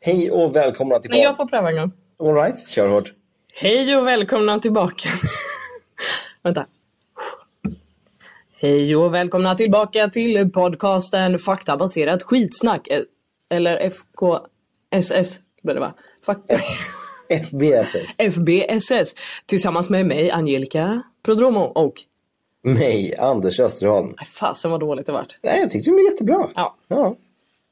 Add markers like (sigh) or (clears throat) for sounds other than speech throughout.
Hej och välkomna Nej, jag tillbaka. får pröva en gång. All right, kör hårt. Hej och välkomna (laughs) tillbaka. Vänta. Hej och välkomna tillbaka till podcasten Faktabaserat skitsnack. eh, Eller FKSS bör det vara. Fak- FBSS. FBSS. Tillsammans med mig, Angelica Prodromo och... Mig, Anders Österholm. Aj, Fasen vad dåligt det vart. Nej, jag tyckte det blev jättebra. Ja, Ja.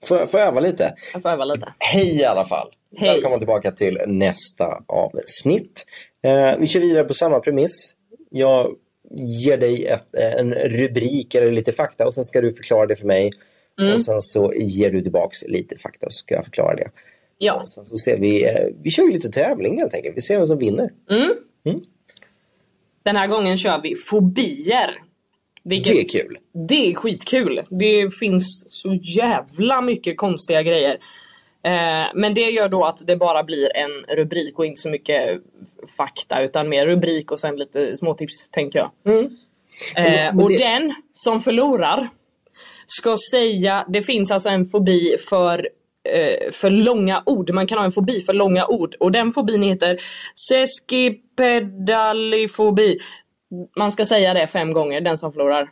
Får, får jag öva lite? jag får öva lite. Hej i alla fall. Hej. Välkomna tillbaka till nästa avsnitt. Eh, vi kör vidare på samma premiss. Jag ger dig ett, eh, en rubrik eller lite fakta och sen ska du förklara det för mig. Mm. Och sen så ger du tillbaks lite fakta och så ska jag förklara det. Ja. Sen så ser vi, eh, vi kör ju lite tävling helt enkelt. Vi ser vem som vinner. Den här gången kör vi fobier. Vilket- Det är kul. Det är skitkul. Det finns så jävla mycket konstiga grejer. Eh, men det gör då att det bara blir en rubrik och inte så mycket fakta utan mer rubrik och sen lite småtips tänker jag. Mm. Eh, Men och det- den som förlorar ska säga, det finns alltså en fobi för eh, för långa ord. Man kan ha en fobi för långa ord och den fobin heter seskipedalifobi. Man ska säga det fem gånger, den som förlorar.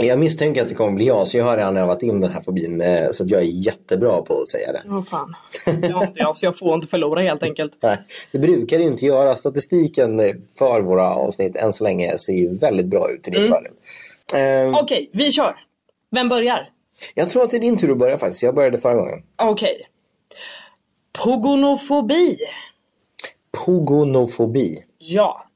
Jag misstänker att det kommer bli jag så jag har redan övat in den här fobin eh, så att jag är jättebra på att säga det. Ja, fan. Det har inte jag, så jag får inte förlora helt enkelt. Nej, det brukar det ju inte göra. Statistiken eh, för våra avsnitt än så länge ser ju väldigt bra ut till din fördel. Ehm, Okej, vi kör. Vem börjar? Jag tror att det är din tur att börja faktiskt. Jag började förra gången. Okej. Pogonofobi. Pogonofobi. Ja.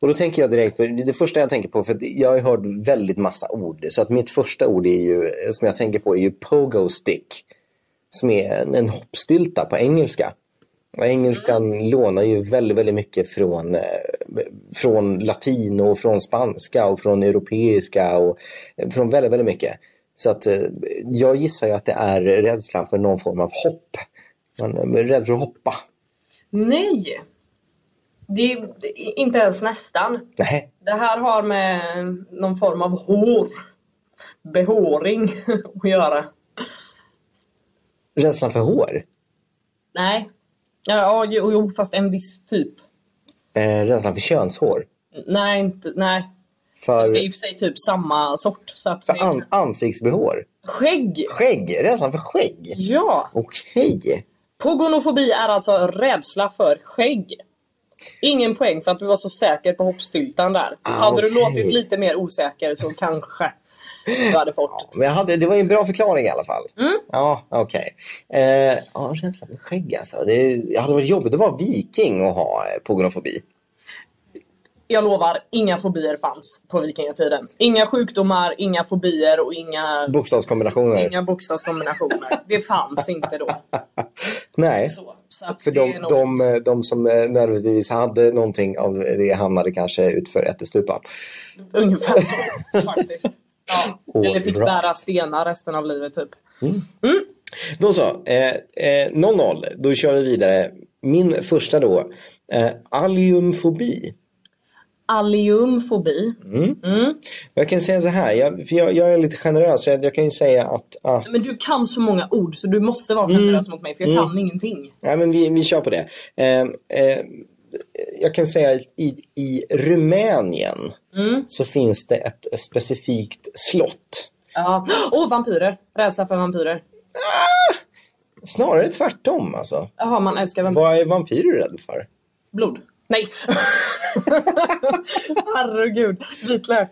Och då tänker jag direkt på det första jag tänker på, för att jag har hört väldigt massa ord. Så att mitt första ord är ju, som jag tänker på är ju pogo stick. Som är en, en hoppstylta på engelska. Och engelskan lånar ju väldigt, väldigt mycket från, eh, från latin och från spanska och från europeiska och eh, från väldigt, väldigt mycket. Så att eh, jag gissar ju att det är rädslan för någon form av hopp. Man är rädd för att hoppa. Nej. Det är det är inte ens nästan. Nej, Det här har med någon form av hår. Behåring att göra. rädslan för hår. Nej. Ja, ja, jo, jo, fast en viss typ. Eh, rädslan för könshår. Nej, inte, nej. Fast det är För, i och för sig typ samma sort. Så att för an, ansiktsbehår. Skägg! Skägg, rädslan för skägg. Ja! Okej. Pogonofobi är alltså rädsla för skägg. Ingen poäng för att du var så säker på hoppstyltan där. Ah, hade du okej. låtit lite mer osäker så kanske du hade fått. Mm. Men jag hade, det var ju en bra förklaring i alla fall. Ja, okej. Eh, ja, rädslan för skägg alltså. Det, det hade varit jobbigt att vara viking och ha eh, pogonofobi. Jag lovar, inga fobier fanns på vikingatiden. Inga sjukdomar, inga fobier och inga, Bokstavskombinationer. inga bokstavskombinationer. Det fanns inte då. (laughs) Nej. Så, så att För det är de, något- de, eh, de som eh, nödvändigtvis hade någonting av det hamnade kanske utför ättestupan. Ungefär så faktiskt. Ja. Eller fick Alright. bära stenar resten av livet typ. Då så, eh, eh, 0-0. Då kör vi vidare. Min första då. Eh, alliumfobi. Alliumfobi. Mm. Jag kan säga så här, jag, för jag, jag är lite generös. så Jag, jag kan ju säga att, att Men du kan så många ord så du måste vara Mm. generös mot mig för jag kan ingenting. nej, men vi, vi kör på det. Eh, eh, jag kan säga att i, i Rumänien så finns det ett specifikt slott. Ja. (gasps) Åh, vampyrer! Rädsla för vampyrer. Snarare tvärtom alltså. Jaha, man älskar vampyrer. Vad är vampyrer rädda för? Blod. (laughs) Nej! Herregud. Vitlök.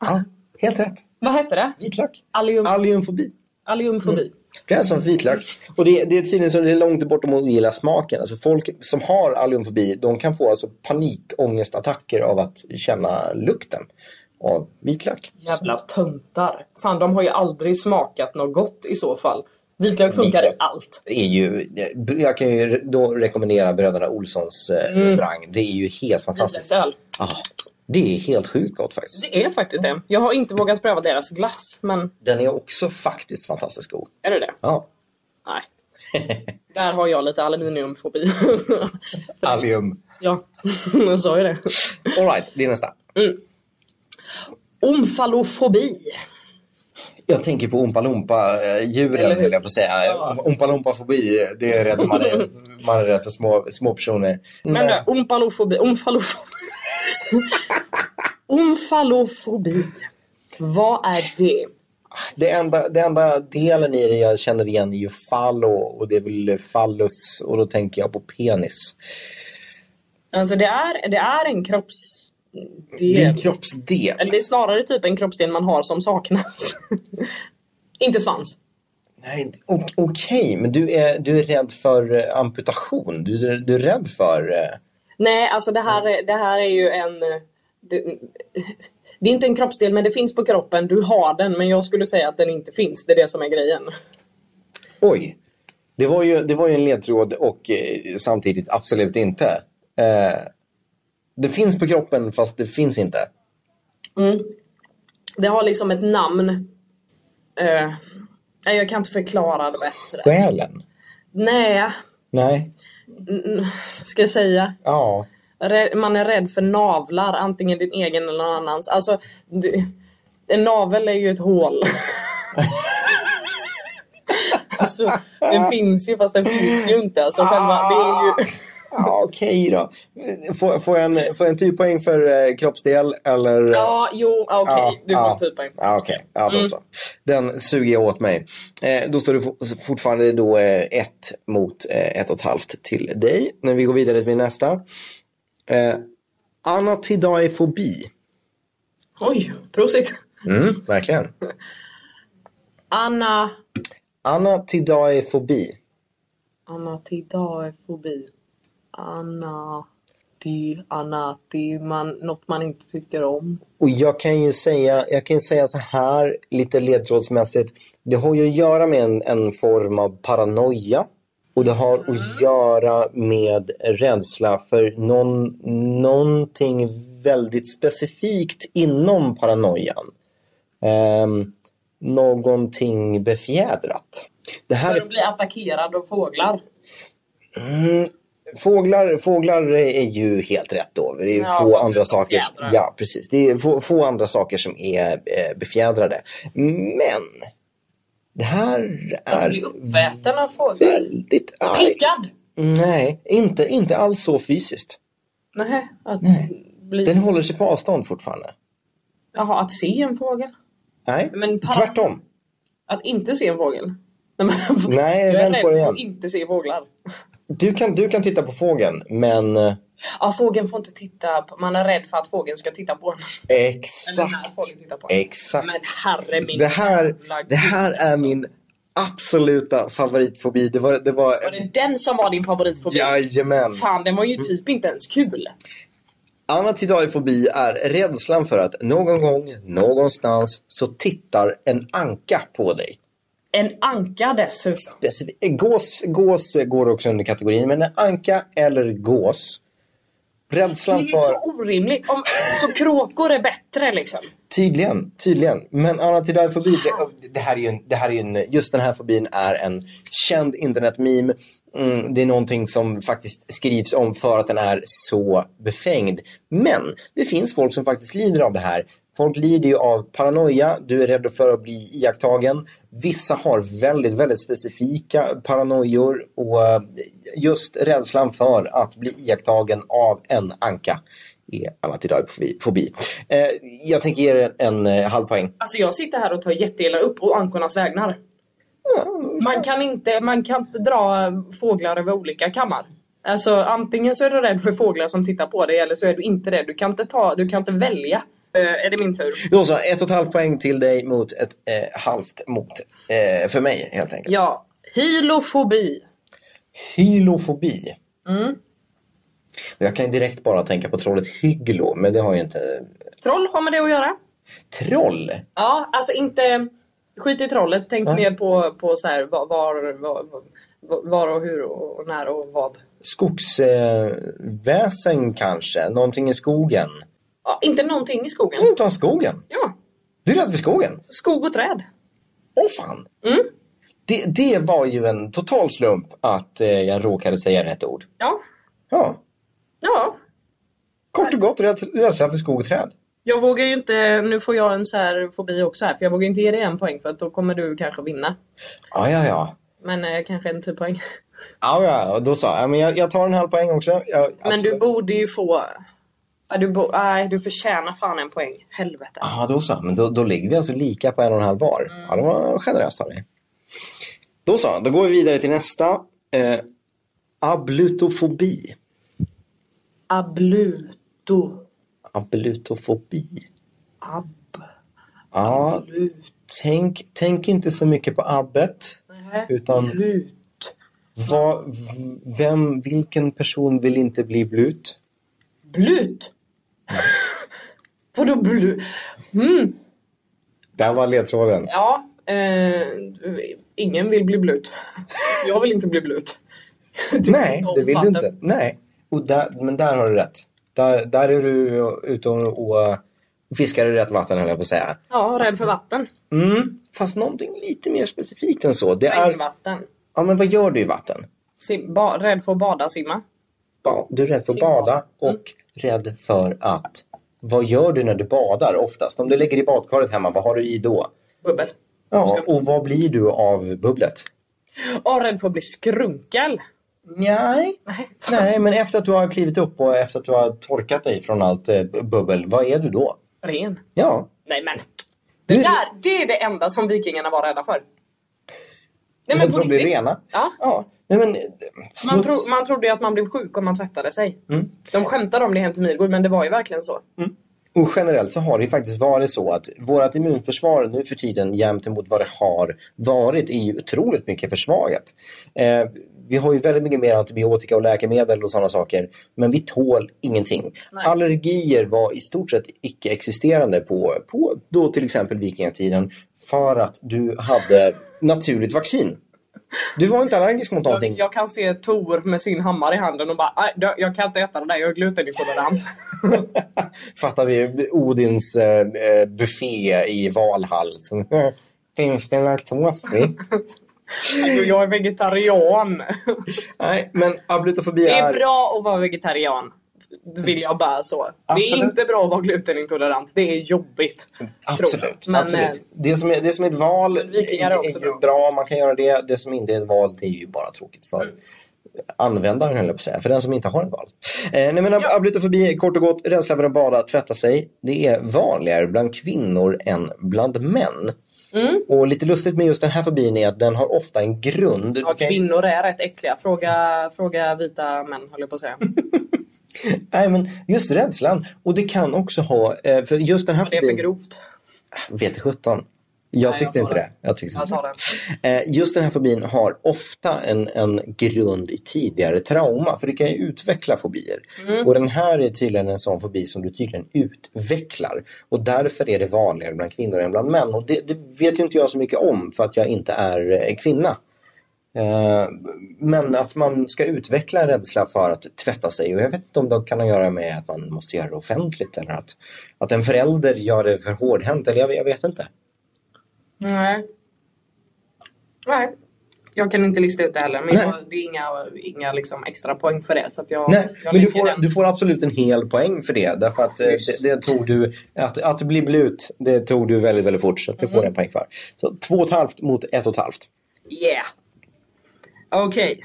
Ja, helt rätt. Vad hette det? Vitlök. Allium, Alliumfobi. alliumfobi. Mm. Rädslan för vitlök. Och det, det är tydligen så det är långt bort om att gilla smaken. Alltså folk som har alliumfobi de kan få alltså panikångestattacker av att känna lukten av vitlök. Jävla töntar. Fan, de har ju aldrig smakat något gott i så fall. Vitlök funkar i Vitlök. allt. Det är ju, jag kan ju då rekommendera Bröderna Olssons eh, restaurang. Det är ju helt fantastiskt. Vitlöksöl. Ja, det är helt sjukt gott faktiskt. Det är faktiskt det. Jag har inte vågat pröva deras glass, men Den är också faktiskt fantastiskt god. är det det? Ja. (laughs) Nej. Där har jag lite aluminiumfobi. (laughs) Allium. ja, (laughs) jag sa ju det. All right, det är nästa. Omfalofobi. Jag tänker på ompa-lompa-djuren, Eller hur? höll jag på att säga. Ja. Ompa-lompa-fobi, det är rädd man är, (laughs) man är rädd för små, små personer. eh, Men nu, omfalofobi. Omfalofobi. omfalofobi. Vad är det? det, enda, det enda delen i det jag känner igen är ju fallo och det är väl fallus och då tänker jag på penis. Alltså det är, det är en kroppsdel. Det är en kroppsdel. Eller det är snarare typ en kroppsdel man har som saknas. Inte svans. Nej, o- Okej, men du är, du är rädd för eh, amputation. Du, du är rädd för... eh, Nej, alltså det här, är- det här är ju en... Det, det är inte en kroppsdel men det finns på kroppen. Du har den men jag skulle säga att den inte finns. Det är det som är grejen. Oj! Det var ju, det var ju en ledtråd och eh, samtidigt absolut inte. Eh, det finns på kroppen fast det finns inte. Mm. Det har liksom ett namn. Eh, nej, jag kan inte förklara det bättre. Själen? Nej, Nej. mm, ska jag säga. Ja. Rä- Man är rädd för navlar, antingen din egen eller någon annans. Alltså, du, en navel är ju ett hål. (laughs) Så, Alltså, den finns ju fast den finns ju inte. Alltså, själva, det är Ah. ju... Ja, okej då. Får, får, jag en, får jag en typ poäng för eh, kroppsdel eller? Ja, jo, ah, okej. Ja, du får ja. typa en. Ja, okej. Ja, då Mm. så. Den suger jag åt mig. Eh, då står det fo- fortfarande då eh, ett mot eh, ett och ett halvt till dig. När vi går vidare till min nästa. Eh, anatidaefobi. Oj, prosit. Mm, verkligen. Anna... Anatidaefobi. Anatidaefobi. Anati... Anati... Man, något man inte tycker om. Och jag kan ju säga, jag kan ju säga så här lite ledtrådsmässigt. Det har ju att göra med en, en form av paranoia. Och det har att göra med rädsla för någon, någonting väldigt specifikt inom paranoian. Ehm, någonting befjädrat. Det här För är att bli attackerad av fåglar. Mm, fåglar, fåglar är ju helt rätt då. Det är ju Ja, få fåglar andra som saker. fjädrar. Ja, precis. Det är få, få andra saker som är eh, befjädrade. Men det här Att är bli uppäten av fåglar. väldigt arg. Pickad! Nej, inte, inte alls så fysiskt. Nej, att Nej. bli... Den håller sig på avstånd fortfarande. Jaha, att se en fågel? Nej, Men para- tvärtom. Att inte se en fågel? Nej, men- Nej, jag är vänd rädd på det för igen. att inte se fåglar. Du kan, du kan titta på fågeln, men eh, Ja, fågeln får inte titta på... Man är rädd för att fågeln ska titta på en. Eller när exakt. fågeln tittar på en. Exakt. Men herre min Det här, jävla det här gud, är alltså. min absoluta favoritfobi. Det var... Det var, Var det den som var din favoritfobi? Jajamän. Fan, den var ju typ inte ens kul. Anatidaefobi är rädslan för att någon gång, någonstans, så tittar en anka på dig. En anka dessutom. Specif- gås, gås går också under kategorin, men en anka eller gås. Det Rädslan är så för... orimligt. Om, så kråkor är bättre liksom. Tydligen, tydligen. Men anatidaefobi, det, det här är ju en, det här är ju en, just den här fobin är en känd internetmeme. Mm, det är någonting som faktiskt skrivs om för att den är så befängd. Men det finns folk som faktiskt lider av det här. Folk lider ju av paranoia, du är rädd för att bli iakttagen. Vissa har väldigt, väldigt specifika paranoior och eh, just rädslan för att bli iakttagen av en anka är anatidaefobi. Eh, jag tänker ge er en eh, halv poäng. Alltså jag sitter här och tar jätteilla upp och ankornas vägnar. Man kan, inte, man kan inte dra fåglar över olika kammar. Alltså antingen så är du rädd för fåglar som tittar på dig eller så är du inte rädd. Du kan inte, ta, du kan inte välja. Eh, är det min tur? Då så, ett och ett halvt poäng till dig mot ett eh, halvt mot eh, för mig helt enkelt. Ja. Hylofobi. Hylofobi. Mm. Jag kan ju direkt bara tänka på trollet Hygglo, men det har ju inte... Troll har med det att göra. Troll? Ja, alltså inte... Skit i trollet. Tänk Ja. mer på, på så här, var, var, var, var och hur och, och när och vad. Skogsväsen eh, kanske? Någonting i skogen? Ja, inte någonting i skogen. Nej, utan skogen. Ja, Du är rädd för skogen? skog och träd. Åh fan! Mm. Det, det var ju en total slump att eh, jag råkade säga rätt ord. Ja, Ja, ja, kort och gott rädd- rädsla för skog och träd. Jag vågar ju inte, nu får jag en så här fobi också här, för jag vågar inte ge dig en poäng för att då kommer du kanske vinna. Ja, ja, ja. Men eh, kanske en typ poäng. (laughs) Ja, ja, och då sa jag, men jag, jag tar en halv poäng också. Jag, Men du absolut. borde ju få... Ja, du, bo... Nej, du förtjänar fan en poäng. Helvete. Ja, då så. Men då, då ligger vi alltså lika på en och en halv var. Mm. Ja, det var generöst av dig. Då så, då går vi vidare till nästa. Eh, ablutofobi. Abluto. Ablutofobi. Ab. Ja, Lut. tänk, tänk inte så mycket på abbet. Nähä. Utan- Blut. Va, vem, vilken person vill inte bli blut? (laughs) Blut? Vadå blut? Mm. Där var ledtråden. Ja. Eh, ingen vill bli blut. Jag vill inte bli blut. Nej, det vill du omfattande. inte. Nej, och där, men där har du rätt. Där, där är du ute och, och fiskar i rätt vatten, höll jag på att säga. Ja, rädd för vatten. Mm. Fast någonting lite mer specifikt än så. Det är, Regnvatten. ja, men vad gör du i vatten? Sim- ba- rädd för att bada, simma. Ba- Du är rädd för att Simma. Mm. bada och rädd för att... Vad gör du när du badar oftast? Om du ligger i badkaret hemma, vad har du i då? Bubbel. Ja, och vad blir du av bubblet? Och rädd för att bli skrunkel. Nej. (laughs) Nej, men efter att du har klivit upp och efter att du har torkat dig från allt eh, bu- bubbel, vad är du då? Ren. Ja. Nej men. Du, Det, där, det är det enda som vikingarna var rädda för. Nej, men på de blir riktigt. rena. Ja. Ja. Nej, men eh, Man, smuts. tro, man trodde ju att man blev sjuk om man tvättade sig. Mm. De skämtade om det hem till Midgård men det var ju verkligen så. Och generellt så har det ju faktiskt varit så att vårt immunförsvar nu för tiden jämt emot vad det har varit är ju otroligt mycket försvagat. Eh, vi har ju väldigt mycket mer antibiotika och läkemedel och sådana saker men vi tål ingenting. Nej. Allergier var i stort sett icke-existerande på, på då till exempel vikingatiden för att du hade naturligt vaccin. Du var inte allergisk mot Jag, någonting. jag kan se Tor med sin hammare i handen och bara "Aj, då- jag kan inte äta det där, jag är glutenintolerant. (laughs) (laughs) fattar vi Odins eh, eh, buffé i Valhall. Som, (laughs) Finns det laktosfritt? Jo, jag är vegetarian. (laughs) Nej, men ablutofobi Det är är... bra att vara vegetarian. Vill jag bara så. Det Absolut. är inte bra att vara glutenintolerant. Det är jobbigt. Absolut. tråkigt, men, eh, absolut. Det, som är, det som är ett val Men vikingar är är, också är ju bra. bra, man kan göra det. Det som inte är ett val det är ju bara tråkigt för Mm. användaren höll jag på att säga, för den som inte har ett val. Eh, nej men ab- Ja. ablutofobi, kort och gott, rädsla för att bada, tvätta sig. Det är vanligare bland kvinnor än bland män. Mm. Och lite lustigt med just den här fobin är att den har ofta en grund. Ja, Du kan- Kvinnor är rätt äckliga. Fråga, fråga vita män höll jag på att säga. Nej, men just rädslan. Och det kan också ha, eh, för just den här Det är för fobin- grovt. Vet 17. Jag Nej, tyckte jag inte tar det. Jag tyckte Jag inte tar det. den. Eh, Just den här fobin har ofta en, en grund i tidigare trauma, för det kan ju utveckla fobier. Och den här är tydligen en sån fobi som du tydligen utvecklar. Och därför är det vanligare bland kvinnor än bland män. Och det, det vet ju inte jag så mycket om, för att jag inte är eh, kvinna. Eh, Men att man ska utveckla en rädsla för att tvätta sig. Och jag vet inte om det kan ha att göra med att man måste göra det offentligt eller att, att en förälder gör det för hårdhänt. Eller jag, jag vet inte. Nej. Nej. Jag kan inte lista ut det heller. Men Nej. jag, det är inga, inga liksom extra poäng för det. Så att jag, Nej, men jag du lägger får, den. du får absolut en hel poäng för det. Därför att eh, det, Just. det tog du, att, att bli blut, det tog du väldigt, väldigt fort. Så att du får en poäng för. Så två och ett halvt mot ett och ett halvt. Yeah. Okej.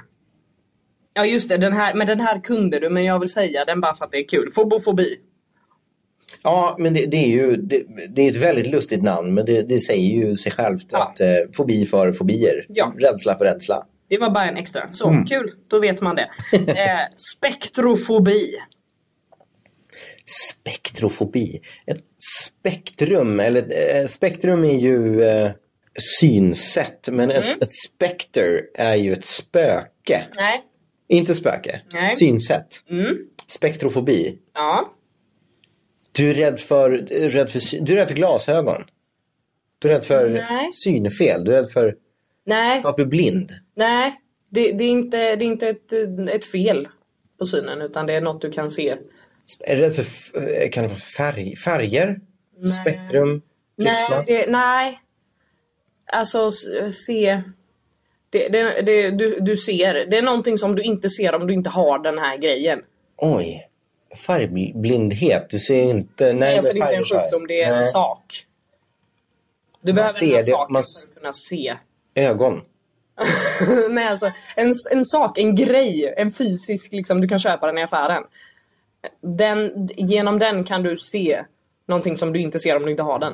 Ja just det, den här, men den här kunde du. Men jag vill säga den bara för att det är kul. Fobofobi. Ja, men det, det är ju det, det är ett väldigt lustigt namn, men det, det säger ju sig självt Ja. att eh, fobi för fobier. Ja. Rädsla för rädsla. Det var bara en extra. Så kul, då vet man det. Eh, spektrofobi. Spektrofobi. Ett spektrum, eller eh, spektrum är ju eh, synsätt, men ett, ett spekter är ju ett spöke. Nej. Inte spöke, Nej. synsätt. Mm. Spektrofobi. Ja. Du är rädd för, du är rädd för, sy- du är rädd för glasögon. Du är rädd för Nej. synfel. Du är rädd för, Nej. för att bli blind. Nej, det, det är inte, det är inte ett, ett fel på synen utan det är något du kan se. Är du rädd för f- eh, kan det vara färg, färger? Spektrum? Prisma? Nej, det, nej. Alltså s- se. Det, det, det, du, du ser. Det är någonting som du inte ser om du inte har den här grejen. Oj. Färgblindhet, du ser inte... Nej, alltså, det men är inte färger en så här. sjukdom, det är en Nej. sak. Du Man behöver ser den här det, saken man- för att kunna se. (laughs) Ögon. Nej, alltså en, en sak, en grej, en fysisk, liksom, du kan köpa den i affären. Den, genom den kan du se någonting som du inte ser om du inte har den.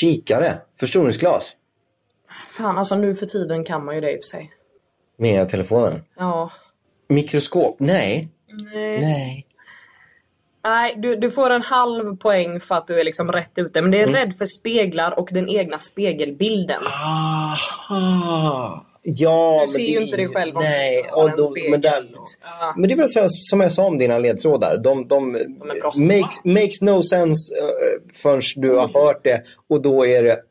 Kikare. Förstoringsglas. Fan, alltså nu för tiden kan man ju det i och för sig. Med telefonen. Ja. Mikroskop. Nej. Nej. Nej. Nej, du, du får en halv poäng för att du är liksom rätt ute. Men det är Mm. rädd för speglar och den egna spegelbilden. Aha. Ja, du ser ju inte dig själv om Nej, du har och en då, spegel. men, där, Ja. men det var så, som jag sa om dina ledtrådar. De, de, är proffs. makes, makes no sense eh, förrän du Mm. har hört det och då är det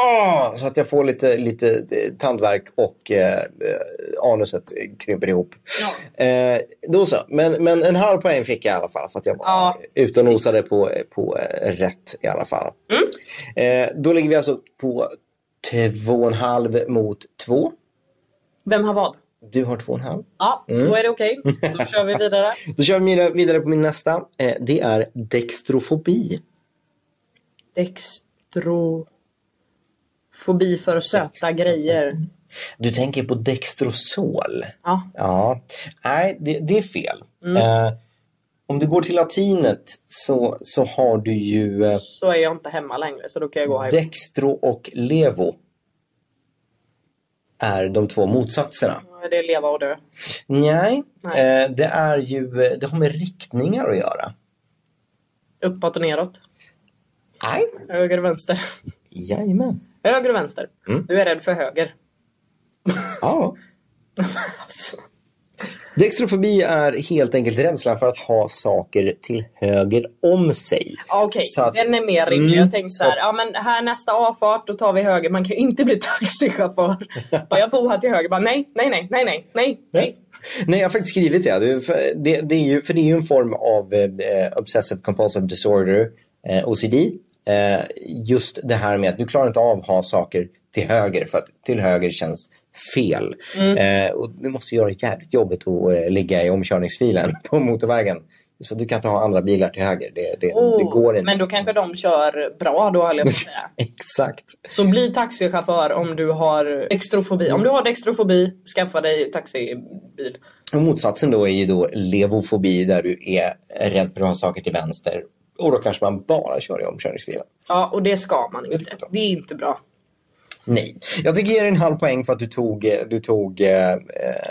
ah, så att jag får lite, lite eh, tandvärk och eh, eh, anuset krymper ihop. Eh, då så. Men, men en halv poäng fick jag i alla fall för att jag var Ja. ute och nosade på, på eh, rätt i alla fall. Eh, då ligger vi alltså på två och en halv mot två. Vem har vad? Du har två och en halv. Ja, Mm. då är det okej. Då kör vi vidare. Då kör vi vidare- vidare på min nästa. Eh, det är dextrofobi. Dextrofobi för söta Dextrofobi. grejer. Du tänker på dextrosol. Ja. Ja, nej det, det är fel. Eh, om du går till latinet så, så har du ju eh, Så är jag inte hemma längre så då kan jag gå hem. dextro och levo. Är de två motsatserna. Det är leva och dö. Nej, Nej. Eh, det är ju, eh, det har med riktningar att göra. Uppåt och neråt. Nej. Höger och vänster. (laughs) Jajamän. Höger och vänster. Mm. Du är rädd för höger. Ja. (laughs) Alltså. Dextrofobi är helt enkelt rädslan för att ha saker till höger om sig. Ja, Okej, Så att- den är mer rimlig. Mm, jag tänkte så så här, att- ja men här nästa avfart, då tar vi höger. Man kan ju inte bli (laughs) (laughs) taxichaufför. Och jag bor här till höger. Bara nej, nej, nej, nej, nej, nej, nej. Nej, jag har faktiskt skrivit det. Det, är- för det, det, är, ju, för det är ju en form av eh, obsessive compulsive disorder, eh, OCD. Eh, just det här med att du klarar inte av att ha saker till höger för att till höger känns fel. Mm. Eh, och det måste göra jävligt jobbigt att eh, ligga i omkörningsfilen (laughs) på motorvägen. Så du kan inte ha andra bilar till höger. Det, det, det Oh, går inte. Men då kanske de kör bra då höll jag (laughs) på att säga. Exakt. Så bli taxichaufför om du har extrofobi. Om du har extrofobi, skaffa dig taxibil. Och motsatsen då är ju då levofobi där du är rädd för att ha saker till vänster. Och då kanske man bara kör i omkörningsfilen. Ja, och det ska man Det inte. är bra. Det är inte bra. Nej. Jag tycker ge dig en halv poäng för att du tog, eh, du tog eh, eh,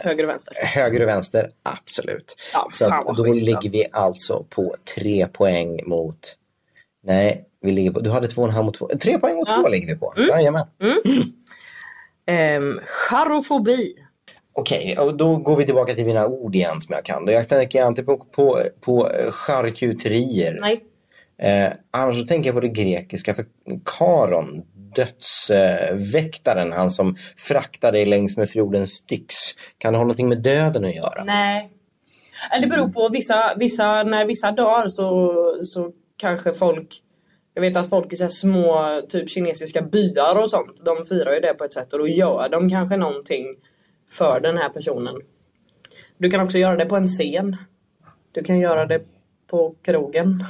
Höger och vänster. höger och vänster. Absolut. Ja, Så fan att vad då schysst, ligger alltså. vi alltså på tre poäng mot... Nej, vi ligger på... du hade två och en halv mot två. Tre poäng mot Ja. Mm. två ligger vi på. Jajamän. Ehm, charofobi. Okej, och då går vi tillbaka till mina ord igen som jag kan. Jag tänker inte på, på, på eh, charkuterier. Nej. Eh, annars så tänker jag på det grekiska för Karon, dödsväktaren, eh, väktaren, han som fraktade dig längs med floden Styx. Kan det ha någonting med döden att göra? Nej. Eh, Det beror på. Vissa, vissa, när vissa dör så, så kanske folk... Jag vet att folk i så här små typ kinesiska byar och sånt, de firar ju det på ett sätt och då gör de kanske någonting för den här personen. Du kan också göra det på en scen. Du kan göra det på krogen.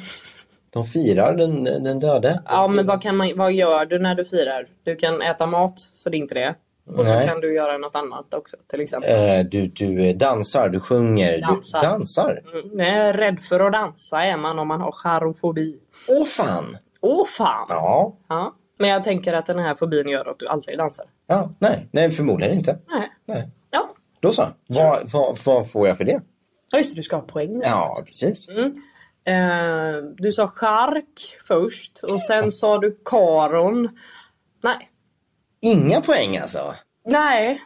De firar den, den döde. Ja men vad, kan man, vad gör du när du firar? Du kan äta mat, så det är inte det. Och så Nej. kan du göra något annat också till exempel. Eh, du, du eh, dansar, du sjunger. Dansar. Du dansar. Mm, jag är rädd för att dansa är man om man har charofobi. Åh fan! Åh fan! Ja. Ja. Men jag tänker att den här fobin gör att du aldrig dansar. ja nej, nej, förmodligen inte. Nej. Nej. Ja. Då så. Vad, vad, vad får jag för det? ja, just det, du ska ha poäng. Ja, precis. Eh, du sa chark först och sen sa du karon. Nej. Inga poäng alltså. Nej.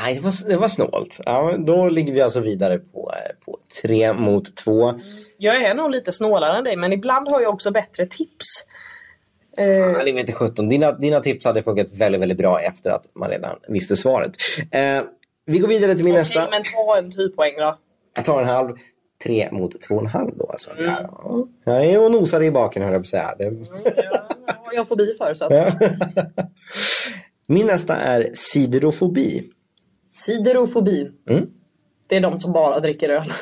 Nej, det var, det var snålt. Ja, men då ligger vi alltså vidare på, eh, på tre mot två. Jag är nog lite snålare än dig men ibland har jag också bättre tips. Eh, Ja, det vet inte sjutton. Dina, dina tips hade funkat väldigt, väldigt bra efter att man redan visste svaret. Eh, vi går vidare till min Okej nästa. men ta en typ poäng då. Jag tar en halv. Tre mot två och en halv då alltså. Ja, jag är och nosar i baken höll jag på att säga. Det... Mm, ja, jag har jag fobi för så att Min nästa är siderofobi. Siderofobi. Mm. Det är de som bara dricker öl.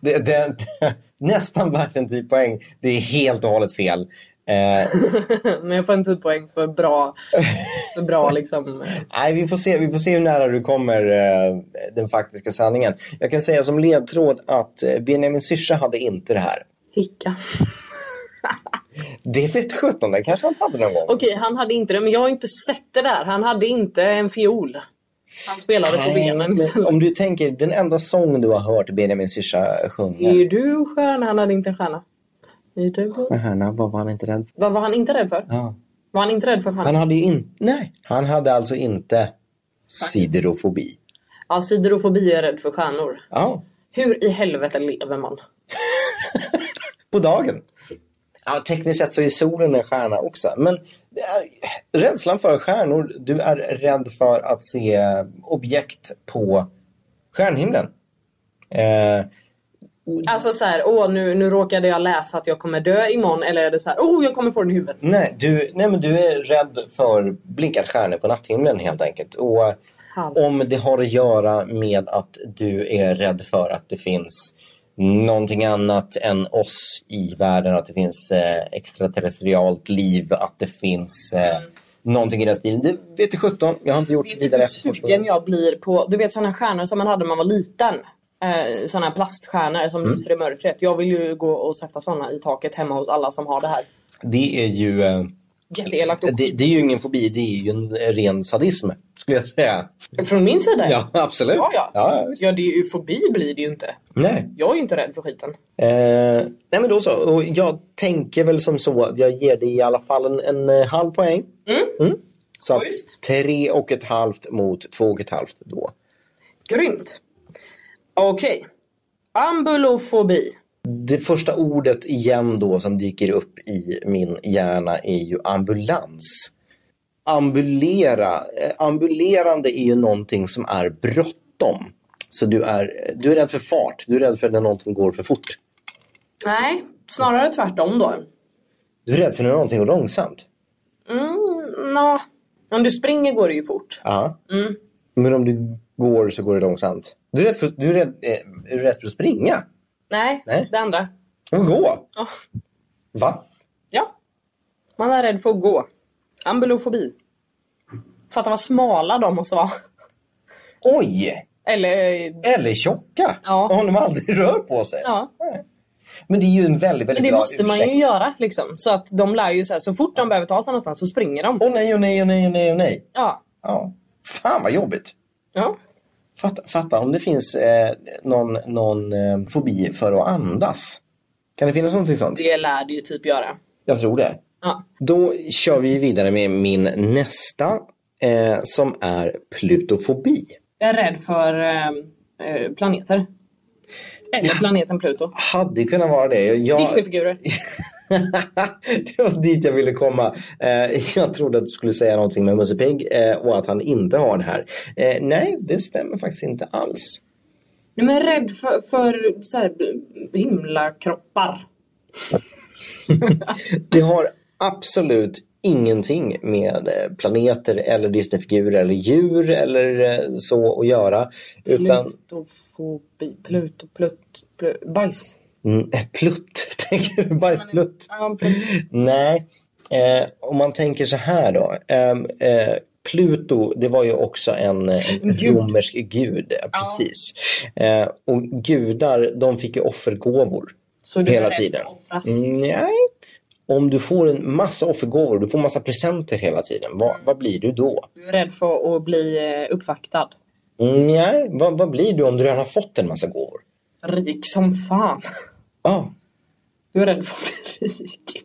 det, det, (laughs) nästan värt en typ poäng. Det är helt och hållet fel. Eh, (laughs) Men jag får en typ poäng för bra, för bra liksom. eh, Nej, vi får, se, vi får se hur nära du kommer eh, den faktiska sanningen. Jag kan säga som ledtråd att eh, Benjamin Syrsa hade inte det här. Hicka. Det vet sjutton, den kanske han hade någon gång. Okej, han hade inte det. Men jag har inte sett det där. Han hade inte en fiol. Han spelade på Nej, benen men istället. Om du tänker, den enda sång du har hört Benjamin Syrsa sjunga. Är du stjärna? Han hade inte en stjärna. Är du... Stjärna, vad var han inte rädd för? Vad var han inte rädd för? Ja. Var han inte rädd för stjärnor? Han hade ju inte... Nej, han hade alltså inte siderofobi. Ja, siderofobi är rädd för stjärnor. Ja, Hur i helvete lever man? på dagen. Ja, tekniskt sett så är solen en stjärna också. Men det är, rädslan för stjärnor, du är rädd för att se objekt på stjärnhimlen. Eh, Alltså så här, åh nu, nu råkade jag läsa att jag kommer dö imorgon. Eller är det så här, åh jag kommer få den i huvudet. nej, du, nej, men du är rädd för blinkande stjärnor på natthimlen helt enkelt. Och Han. om det har att göra med att du är rädd för att det finns någonting annat än oss i världen, att det finns eh, extraterrestrialt liv, att det finns eh, Mm. någonting i den stilen. Det vete sjutton, jag har inte gjort Vet du vidare hur sugen efterforskning. jag blir på, du vet sådana stjärnor som man hade när man var liten. Eh, sådana här plaststjärnor Mm. som lyser i mörkret. Jag vill ju gå och sätta sådana i taket hemma hos alla som har det här. Det är ju... Eh, Jätteelakt och det, det är ju ingen fobi, det är ju en ren sadism, skulle jag säga. Från min sida? Ja, absolut. Ja, ja. ja visst. ja det är ju, fobi blir det ju inte. Nej. Jag är ju inte rädd för skiten. Eh, nej men då så, och jag tänker väl som så att jag ger dig i alla fall en, en eh, halv poäng. Mm. Mm. Så att Schysst. tre och ett halvt mot två och ett halvt då. Grymt! Okej. Ambulofobi. Det första ordet igen då som dyker upp i min hjärna är ju ambulans. Ambulera, eh, ambulerande är ju någonting som är bråttom. Så du är, du är rädd för fart, du är rädd för när någonting går för fort. Nej, snarare tvärtom då. Du är rädd för när någonting går långsamt. Mm, nå. Om du springer går det ju fort. Ja. Mm. Men om du går så går det långsamt. Du är rädd för, du är rädd, eh, är du rädd för att springa? Nej, Nej. det andra. Och gå? Ja. Va? ja. Man är rädd för att gå. Ambulofobi. Fatta vad smala de måste vara. Oj! Eller... Eller tjocka! Ja. Om de aldrig (laughs) rör på sig. Ja. Men det är ju en väldigt, väldigt Men det bra måste man ursäkt. ju göra liksom. Så att de lär ju så här, så fort de behöver ta sig någonstans så springer de. Åh nej, åh nej, åh nej, åh nej, åh nej. Ja. Ja. Fan vad jobbigt. Ja. Fatta, fatta om det finns eh, någon, någon eh, fobi för att andas. Kan det finnas någonting sånt? Det lär det ju typ göra. Jag tror det. Ja. Då kör vi vidare med min nästa eh, som är plutofobi. Jag är rädd för eh, eh, planeter. Eller planeten Pluto. Hade kunnat vara det. Jag... Disneyfigurer. (laughs) det var dit jag ville komma. Eh, jag trodde att du skulle säga någonting med Musse Pigg eh, och att han inte har det här. Eh, nej, det stämmer faktiskt inte alls. Nej, men rädd för, för så här, himlakroppar. Det har absolut ingenting med eh, planeter eller Disneyfigurer eller djur eller eh, så att göra. Utan Plutofobi. Pluto, plut, plut, bajs. mm, eh, (laughs) plutt, tänker du? Bajsplutt. Ja, plut. Nej, eh, om man tänker så här då. Ehm, eh, Pluto, det var ju också en, eh, en gud. romersk gud. ja, Precis. Eh, och gudar, de fick ju offergåvor Så du är hela rädd tiden. för att offras. Nej, om du får en massa offergåvor, du får massa presenter hela tiden. Vad, vad blir du då? Du är rädd för att bli eh, uppvaktad. Nej, vad, vad blir du om du redan har fått en massa gåvor? Rik som fan. Ja, Du är rädd för att bli rik.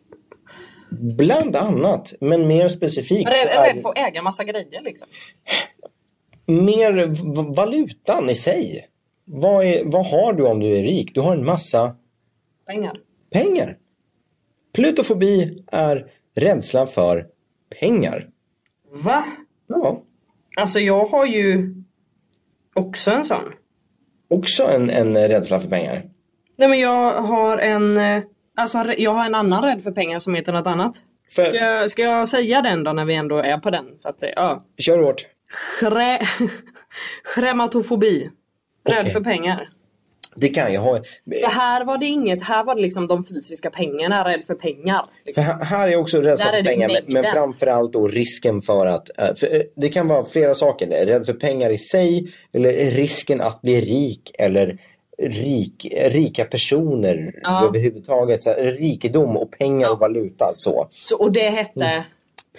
bland annat, men mer specifikt. så Rädd, är rädd det- för att äga massa grejer liksom. mer v- valutan i sig. Vad, är, vad har du om du är rik? Du har en massa Pengar. pengar. Plutofobi är rädslan för pengar. Va? Ja, Alltså jag har ju också en sån. också en, en rädsla för pengar. Nej men jag har en eh, Alltså jag har en annan rädd för pengar som heter något annat. För, Ska jag, ska jag säga den då när vi ändå är på den? För att, det- ja. Kör hårt. (laughs) Chrä... Schrematofobi. Rädd Okej. för pengar. Det kan jag ha. För här var det inget, här var det liksom de fysiska pengarna, rädd för pengar. För Liksom. här här är jag också rädd Där är för det pengar men, men mängden. framförallt då risken för att... eh, För eh, det kan vara flera saker. där. Rädd för pengar i sig eller risken att bli rik eller rik, rika personer Ja. överhuvudtaget. Så här, rikedom och pengar och valuta. så. Så, och det hette Mm.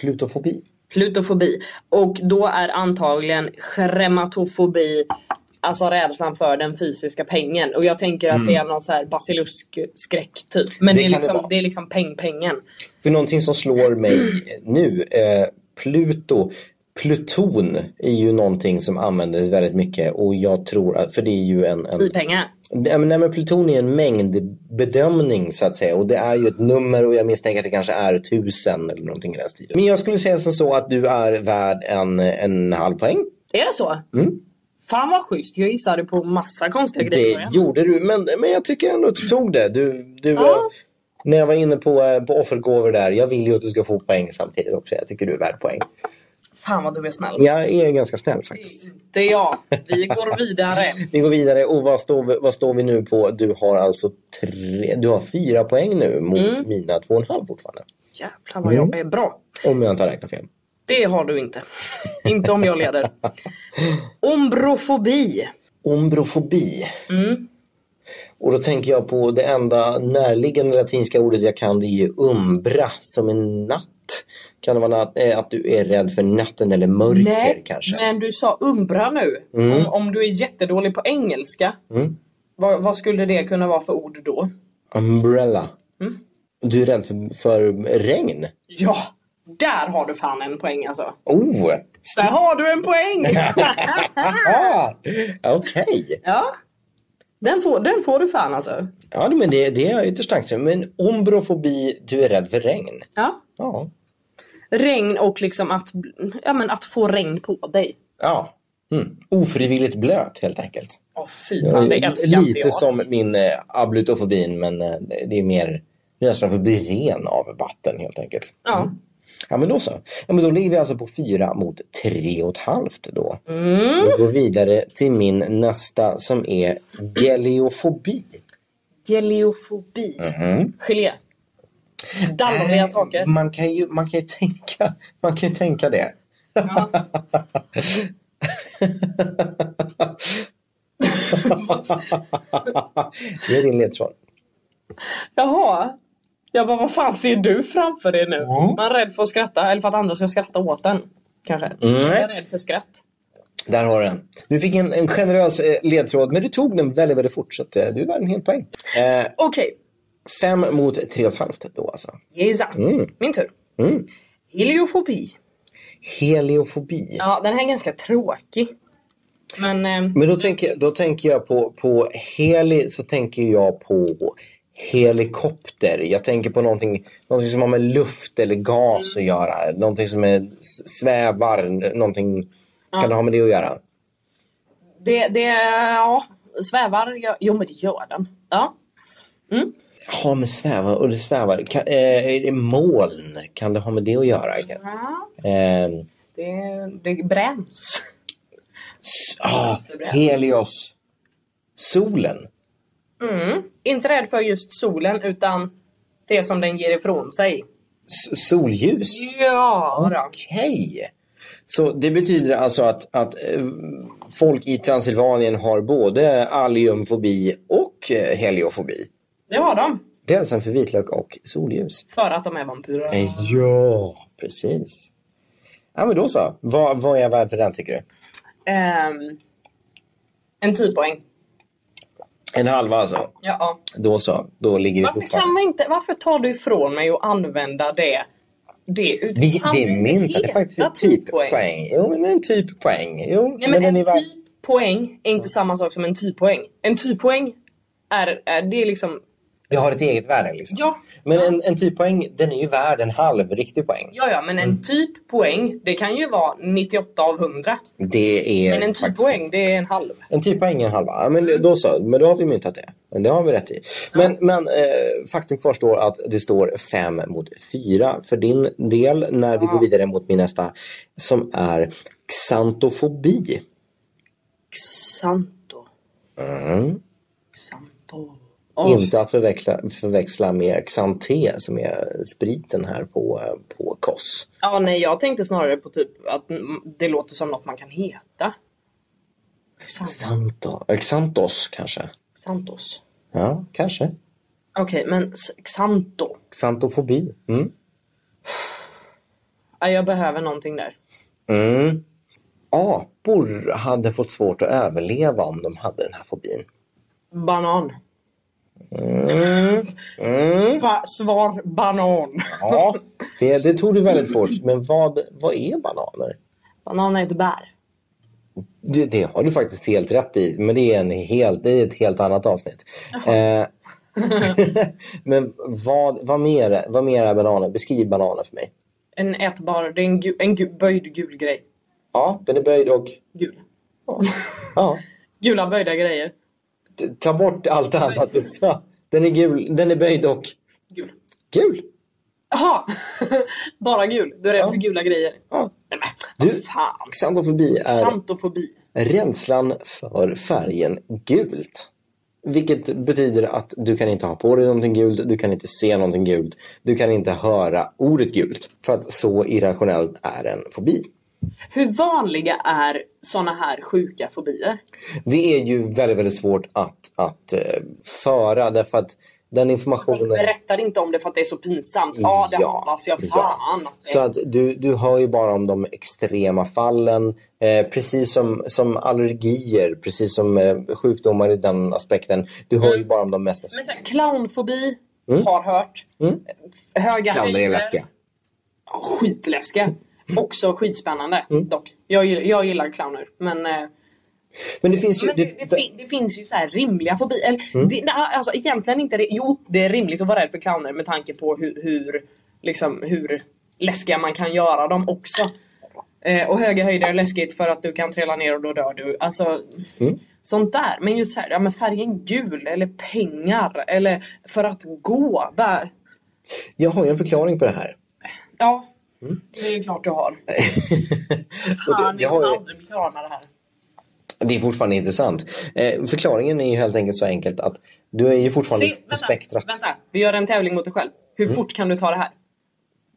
Plutofobi. plutofobi. Och då är antagligen krematofobi Alltså rädslan för den fysiska pengen. Och jag tänker att det är någon så här basiluskskräck typ. Men Mm. Det det, är kan det liksom, vara. det, är liksom peng-pengen. För någonting som slår mig nu, eh, Pluto, pluton är ju någonting som användes väldigt mycket och jag tror att, för det är ju en... en I pengar. Nej men, nej, men pluton är en mängdbedömning så att säga och det är ju ett nummer och jag misstänker att det kanske är tusen eller någonting i den stilen. Men jag skulle säga som så att du är värd en, en halv poäng. Är det så? Mm. Fan vad schysst. Jag gissade på massa konstiga grejer. Det gjorde du, men, men jag tycker ändå att du tog det. Du, du, Ja. eh, När jag var inne på, eh, på offergåvor där, jag vill ju att du ska få poäng samtidigt också. Jag tycker du är värd poäng. Fan vad du är snäll. Jag är ganska snäll Det faktiskt. är inte jag. Vi går vidare. Vi går vidare och vad står vi, vad står vi nu på? Du har alltså tre, du har fyra poäng nu mot Mm. mina två och en halv fortfarande. Jävlar vad Mm. jag är bra. Om jag inte har räknat fel. Det har du inte. inte om jag leder. Ombrofobi. Ombrofobi. Mm. Och då tänker jag på det enda närliggande latinska ordet jag kan det är ju umbra som en natt. Kan det vara natt, eh, att du är rädd för natten eller mörker Nej, kanske? men du sa umbra nu. Mm. Om, om du är jättedålig på engelska, Mm. vad, vad skulle det kunna vara för ord då? Umbrella. Mm. Du är rädd för, för regn? Ja, där har du fan en poäng alltså. Oh! Där har du (laughs) en poäng! Aha! Okej. ja, den får, den får du fan alltså. Ja, men det, det är ytterst tacksam. Men ombrofobi, du är rädd för regn. Ja. Ja. Regn och liksom att, ja, men att få regn på dig. ja. Mm. Ofrivilligt blöt helt enkelt. Åh fy fan, det Eh, älskar inte Lite jag. som min eh, ablutofobin men eh, det är mer rädslan för att bli ren av vatten helt enkelt. Ja. Ja men då så. Ja, men då ligger vi alltså på fyra mot tre och ett halvt då. Mm. Vi går vidare till min nästa som är geleofobi. Geleofobi. Mhm. Gelé. Äh. Dallriga saker. Man kan ju, man kan ju, tänka, man kan ju tänka det. (laughs) Ja. det är din ledtråd. Jaha. Jag bara, vad fan ser du framför dig nu? Ja. Man är rädd för att skratta eller för att andra ska skratta åt en. Kanske. Mm. Jag är rädd för skratt. Där har du den. Du fick en, en generös eh, ledtråd men du tog den väldigt, väldigt fort så att, eh, du är värd en hel poäng. Eh, Okej, fem mot tre och ett halvt då alltså. gissa. Mm. Min tur. Mm. Heliofobi. Heliofobi. Ja, den här är ganska tråkig. Men eh, Men då tänker, då tänker jag på, på heli så tänker jag på helikopter. Jag tänker på någonting, någonting som har med luft eller gas att göra. Någonting som är, s- svävar, någonting kan det ha med det att göra. det, det, ja. Svävar, ja, jo men det gör den. Ja. Ha med svävar och det svävar. Kan, eh, är det moln? Kan det ha med det att göra? ja. Eh, Det, det bränns. s- ah, Helios. Solen. Mm. Inte rädd för just solen utan det som den ger ifrån sig. S- solljus. Ja, då. Okej. Så det betyder alltså att, att eh, folk i Transylvanien har både alliumfobi och eh, heliofobi. det har de. Rädslan för vitlök och solljus. För att de är vampyrer. Eh, Ja, precis. Ja, men då så. Vad, vad är jag värd för den tycker du? Ehm, en 10 poäng. En halva alltså. Ja, ja. Då så. Då ligger vi Varför, kan fortfarande... man inte, varför tar du ifrån mig och använda det? Det, ut- Vi, kan det du är inte mynta. Det är heta faktiskt en typ poäng. Jo, men en typ poäng. Jo, Nej, men, den en är värd- typ poäng är inte samma sak som en typ poäng. En typ poäng är, är det är liksom... Det har ett eget värde liksom. Ja, Men en, en typ poäng, den är ju värd en halv riktig poäng. ja, ja men en Mm. typ poäng det kan ju vara 98 av 100. Det är Men en typ faktiskt- poäng det är en halv. En typ poäng är en halva. Ja, men då så, men då har vi myntat det. Men Det har vi rätt i. Men, men eh, faktum kvarstår att det står 5 mot 4 för din del när vi Ja. går vidare mot min nästa som är xantofobi. Xanto. Mm. Xantol. Inte att förväxla, förväxla med Xanté som är spriten här på, eh, på Koss. Ja, nej, jag tänkte snarare på typ att mm, det låter som något man kan heta. Sant- Xanto, eh, Xantos kanske? Santos. Ja, kanske. Okej, men s- Xanto. Xantofobi. Mm. Ja, jag behöver någonting där. Mm. Apor hade fått svårt att överleva om de hade den här fobin. Banan. Mm. Mm. Ba- svar banan. Ja, det, det tog du väldigt svårt. Men vad, vad är bananer? Banan är ett bär. Det, det har du faktiskt helt rätt i, men det är, en helt, det är ett helt annat avsnitt. Eh, (laughs) men vad, vad, mer, vad mer är bananer? Beskriv bananer för mig. En ätbar, det är en, gu- en gu- böjd gul grej. Ja, den är böjd och... Gul. Ja. Gula böjda grejer. T- Ta bort allt annat du sa. Den är gul, den är böjd och Gul. gul. Jaha! (laughs) Bara gul. Du är rädd Ja. för gula grejer. Ja. Nej, men, Du, vad fan. Xantofobi är Santofobi. rädslan för färgen gult. Vilket betyder att du kan inte ha på dig någonting gult, du kan inte se någonting gult, du kan inte höra ordet gult. För att så irrationellt är en fobi. Hur vanliga är såna här sjuka fobier? Det är ju väldigt, väldigt svårt att, att eh, föra därför att den Folk informationen... berättar inte om det för att det är så pinsamt. Ja, det hoppas jag. Fan. ja. att det- Så att du, du hör ju bara om de extrema fallen. Eh, precis som, som allergier, precis som eh, sjukdomar i den aspekten. Du hör ju bara om de mest... Mm. Men sen clownfobi har hört. Mm. Höga Clowner är höjder. läskiga. Skitläskiga. Också skitspännande Mm. dock. Jag, gill- jag gillar clowner men, eh, Men det finns ju... men det, det, det- Mm. fin- det finns ju så här rimliga fobier. Eller, det, nej, alltså, egentligen inte det. Jo, det är rimligt att vara rädd för clowner med tanke på hur, hur, liksom, hur läskiga man kan göra dem också. Eh, och höga höjder är läskigt för att du kan trilla ner och då dör du. Alltså, Mm. Sånt där. Men just så här, ja, men färgen gul eller pengar eller för att gå. Bara, Jag har ju en förklaring på det (laughs) här. Ja, det är klart du har. Fan, Mm. det jag har kommer ju- aldrig bli klar med det här. Det är fortfarande intressant. Eh, förklaringen är ju helt enkelt så enkelt att du är ju fortfarande Se, Alltså, på vänta, spektrat. Mm. vänta, vi gör en tävling mot dig själv. Hur fort kan du ta det här?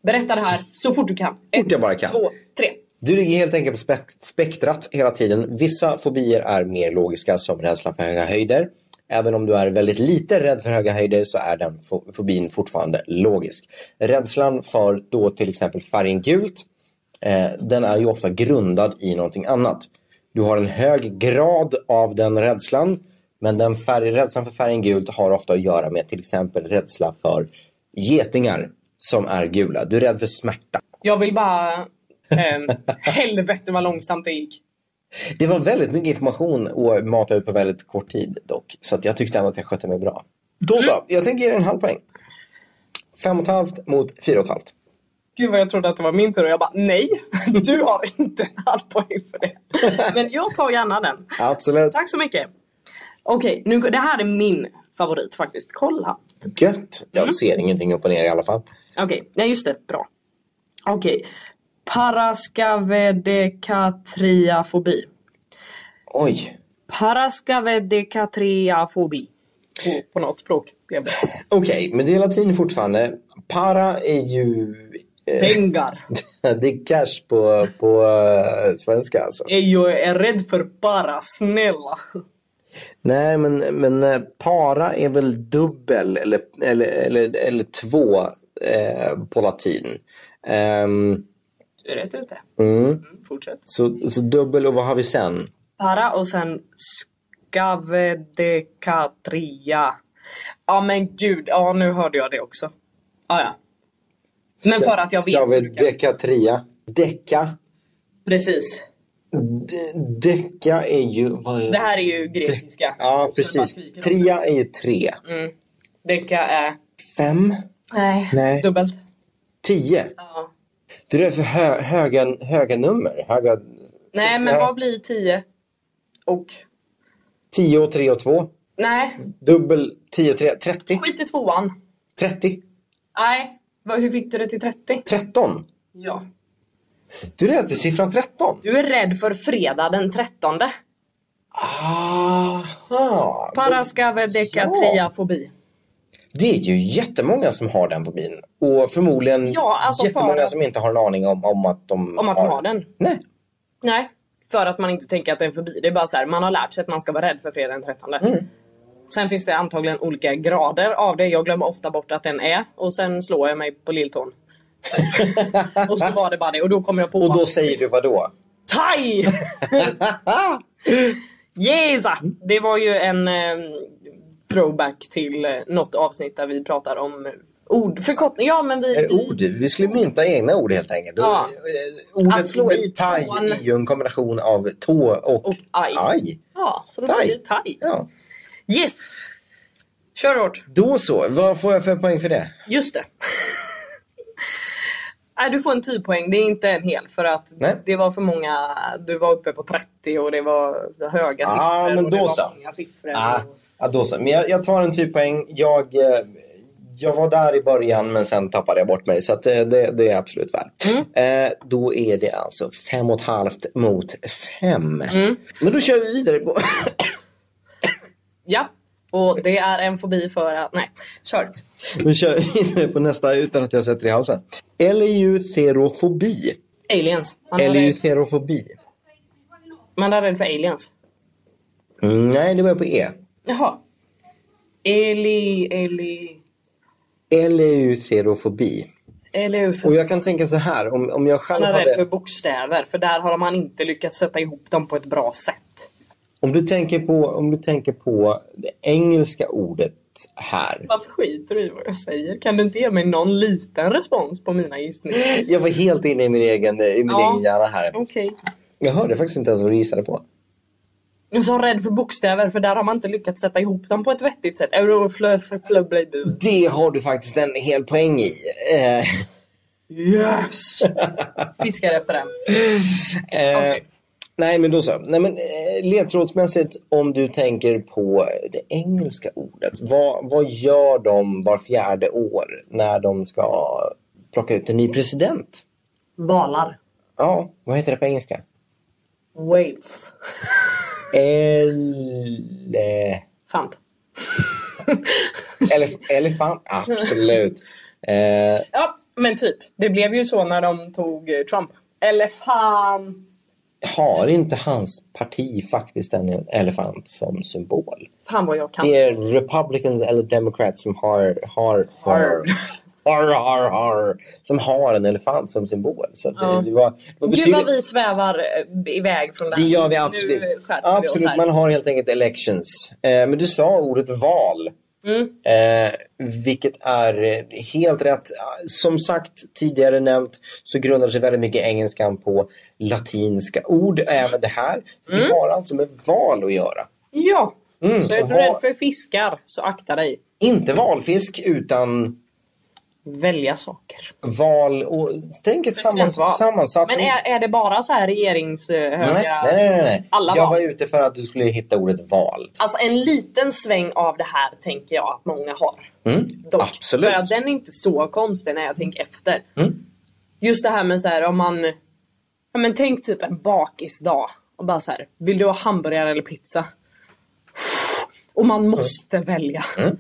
Berätta det här så fort du kan. Ett, jag bara kan. två, tre. Du ligger helt enkelt på spek- spektrat hela tiden. Vissa fobier är mer logiska som rädslan för höga höjder. Även om du är väldigt lite rädd för höga höjder så är den fo- fobin fortfarande logisk. Rädslan för då till exempel färgen gult, eh, den är ju ofta grundad i någonting annat. Du har en hög grad av den rädslan, men den färg, rädslan för färgen gult har ofta att göra med till exempel rädsla för getingar som är gula. Du är rädd för smärta. Jag vill bara... (laughs) ehm, helvete vad långsamt det gick. Det var väldigt mycket information att mata ut på väldigt kort tid dock. Så att jag tyckte ändå att jag skötte mig bra. Då så, jag tänker ge dig en halv poäng. Fem och ett halvt mot fyra och ett halvt. Gud vad jag trodde att det var min tur och jag bara nej, (laughs) du har inte en halv poäng för det. Men jag tar gärna den. Absolut. Tack så mycket. Okej, nu det här är min favorit faktiskt. Kolla. Gött. Jag ser ingenting upp och ner i alla fall. Okej, nej just det, bra. Okej. Paraskavedekatriafobi. Oj. Paraskavedekatriafobi. På, på något språk. Det blir Okej, men det är latin fortfarande. Para är ju... eh, Pengar. (laughs) Det är cash på, på eh, svenska alltså. Eh, Jag är rädd för para, snälla. Nej, men, men eh, para är väl dubbel eller, eller, eller, eller två eh, på latin. Ehm, Du är rätt ute. mm. Mm, fortsätt. Så, så dubbel och vad har vi sen? Para och sen skavedekatria. Ja men gud, ja nu hörde jag det också. Ah, Ja, ja. Men för att jag vet Ska så vi du kan. deka trea? Deka? Precis. De- Deka är ju... Vad är Det här är ju grekiska. Ja, Så precis. det bara skriker om det. Trea är ju tre. Mm. Deka är... Fem? Nej. Nej. Dubbelt. Tio? Ja. Det där är för hö, höga, höga nummer. Höga, Nej men vad blir 10? Och? Tio och tre och två. Nej, Dubbel tio och tre. Trettio? skit i tvåan. Trettio? Nej, vad, hur fick du det till 30? Tretton? Ja. Du räddade siffran 13. Du är rädd för fredag den 13. Aha! Paraskavedekatriafobi. Det är ju jättemånga som har den fobin. Och förmodligen Ja, alltså för- jättemånga som inte har en aning om, om att de Om att har ha den. Nej. Nej, för att man inte tänker att det är en fobi. Det är bara så här, man har lärt sig att man ska vara rädd för fredag den 13. Mm. Sen finns det antagligen olika grader av det. Jag glömmer ofta bort att den är och sen slår jag mig (laughs) på lilltån. och så var det bara det och då kom jag på Och då säger du vad då? TAI! (laughs) Jesa! Det var ju en eh, throwback till eh, något avsnitt där vi pratar om ord. Förkortning, ja men vi... Eh, Ord. Vi skulle mynta egna ord helt enkelt. Ja. Eh, Ordet Att slå i thai tån. är ju en kombination av tå och, Och aj. aj. Ja, så det var Thai. ju TAI. Ja. Yes! Kör hårt! Då så. Vad får jag för poäng för det? Just det. (laughs) Nej, du får en typoäng. Det är inte en hel för att Nej. det var för många. Du var uppe på 30 och det var höga Ah, siffror. men och det då var så. många siffror. Ah, och- ja, då så. Men jag, jag tar en typ poäng. Jag, eh, jag var där i början men sen tappade jag bort mig. Så att, eh, det, det är absolut värt. Mm. Eh, då är det alltså fem och ett halvt mot fem. Mm. Men då kör vi vidare. På... (coughs) Ja, och det är en fobi för att... Nej, kör. då kör vi vidare på nästa utan att jag sätter i halsen. E Eleuterofobi. Aliens. Man är, E rädd, Eleuterofobi. man är rädd för aliens. Mm, nej, det börjar på E. Jaha. Eli, Eli... Eleuterofobi. Eller E Och jag kan tänka så här, om, om jag själv Man är hade... rädd för bokstäver för där har man inte lyckats sätta ihop dem på ett bra sätt. Om du tänker på, om du tänker på det engelska ordet här. Varför skiter du i vad jag säger? Kan du inte ge mig någon liten respons på mina gissningar? Jag var helt inne i min egen, i min Ja. egen hjärna här. Okej. Jag hörde faktiskt inte ens vad du gissade på. Jag är så rädd för bokstäver för där har man inte lyckats sätta ihop dem på ett vettigt sätt. Euro, flö, flö, flö, blö, blö. Det har du faktiskt en hel poäng i. Eh, Yes! Fiskar efter den. eh, Okej. Nej men då så. Nej, men, eh, ledtrådsmässigt om du tänker på det engelska ordet. Vad, vad gör de var fjärde år när de ska plocka ut en ny president? Valar. Ja, vad heter det på engelska? Wales. Ele... Fant. Elef- elefant, (laughs) absolut. Eh, Ja, men typ. Det blev ju så när de tog eh, Trump. Elefant. har inte hans parti faktiskt en elefant som symbol? Fan vad jag kan. Det är Republicans eller Democrats som har, har, har, Har. har, har, har, som har en elefant som symbol. Så att Ja. det, det var, det var Gud vad betydligt- vi svävar eh, iväg från det det här. gör vi Nu absolut. eh, skärper vi oss Absolut, här. man har helt enkelt elections. Eh, men du sa ordet val. Mm. Eh, vilket är eh, helt rätt. Som sagt tidigare nämnt så grundar sig väldigt mycket engelskan på latinska ord, även det här. Så Mm. Det har alltså med val att göra. Ja. Mm, Så är och du ha- rädd för fiskar så akta dig. Inte valfisk utan Välja saker. val och tänk ett Presidentval. sammans- sammansatt... Men är, är det bara så här regeringshöga... nej, nej, nej, nej. Alla Jag val. var ute för att du skulle hitta ordet val. Alltså en liten sväng av det här tänker jag att många har. Mm, Dock. absolut. För att den är inte så konstig när jag tänker efter. Mm. Just det här med så här om man... Ja men tänk typ en bakisdag. Och bara så här, vill du ha hamburgare eller pizza? Och man måste välja. Mm.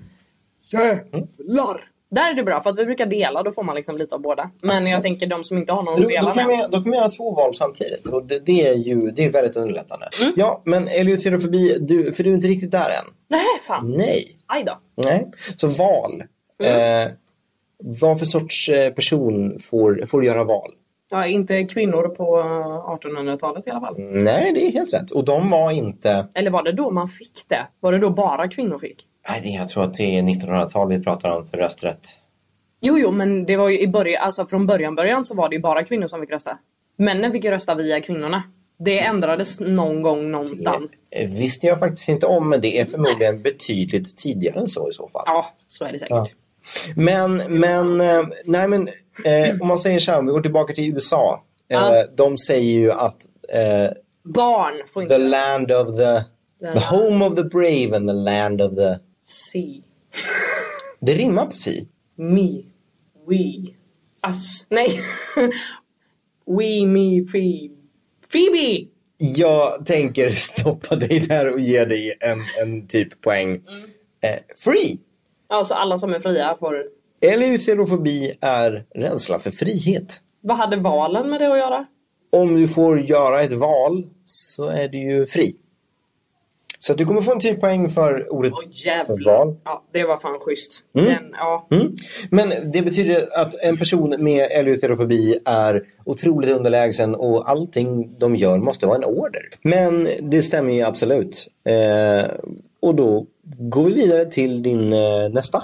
Jävlar! Där är det bra för att vi brukar dela, då får man liksom lite av båda. Men jag tänker de som inte har någon Då, att dela då, kan med. vi, då kan vi göra två val samtidigt och det, det är ju det är väldigt underlättande. Ja, men eleuterofobi, du, för du är inte riktigt där än. Nej fan, Nej. aj då. Nej. Så val. Eh, vad för sorts eh, person får, får göra val? Ja, inte kvinnor på eh, 1800-talet i alla fall. Nej, det är helt rätt. Och de var inte... Eller var det då man fick det? Var det då bara kvinnor fick? Nej, det- jag tror att det är 1900-tal vi pratar om för rösträtt. Jo, jo, men det var ju i början, alltså från början, början så var det ju bara kvinnor som fick rösta. Männen fick ju rösta via kvinnorna. Det ändrades någon gång någonstans. Eh, visste jag faktiskt inte om, men det är förmodligen betydligt tidigare än så i så fall. Ja, så är det säkert. Ja. Men, men, eh, nej men eh, om man säger så här, om vi går tillbaka till USA. Eh, Ja. De säger ju att eh, Barn får the inte land of the, The the home of the brave and the land of the... se Det rimmar på si. me, we, (laughs) us. Nej! we, me, Phoebe. Phoebe! Jag tänker stoppa dig där och ge dig en, en typ poäng. Mm. Eh, free! Alltså alla som är fria får... Eleuterofobi är rädsla för frihet. Vad hade valen med det att göra? Om du får göra ett val så är du ju fri. Så att du kommer få en typ poäng för ordet Åh för jävlar. val. Ja, det var fan schysst. Mm. Den, ja. Mm. Men det betyder att en person med eleuterofobi är otroligt underlägsen och allting de gör måste vara en order. Men det stämmer ju absolut. Eh, och då går vi vidare till din eh, nästa.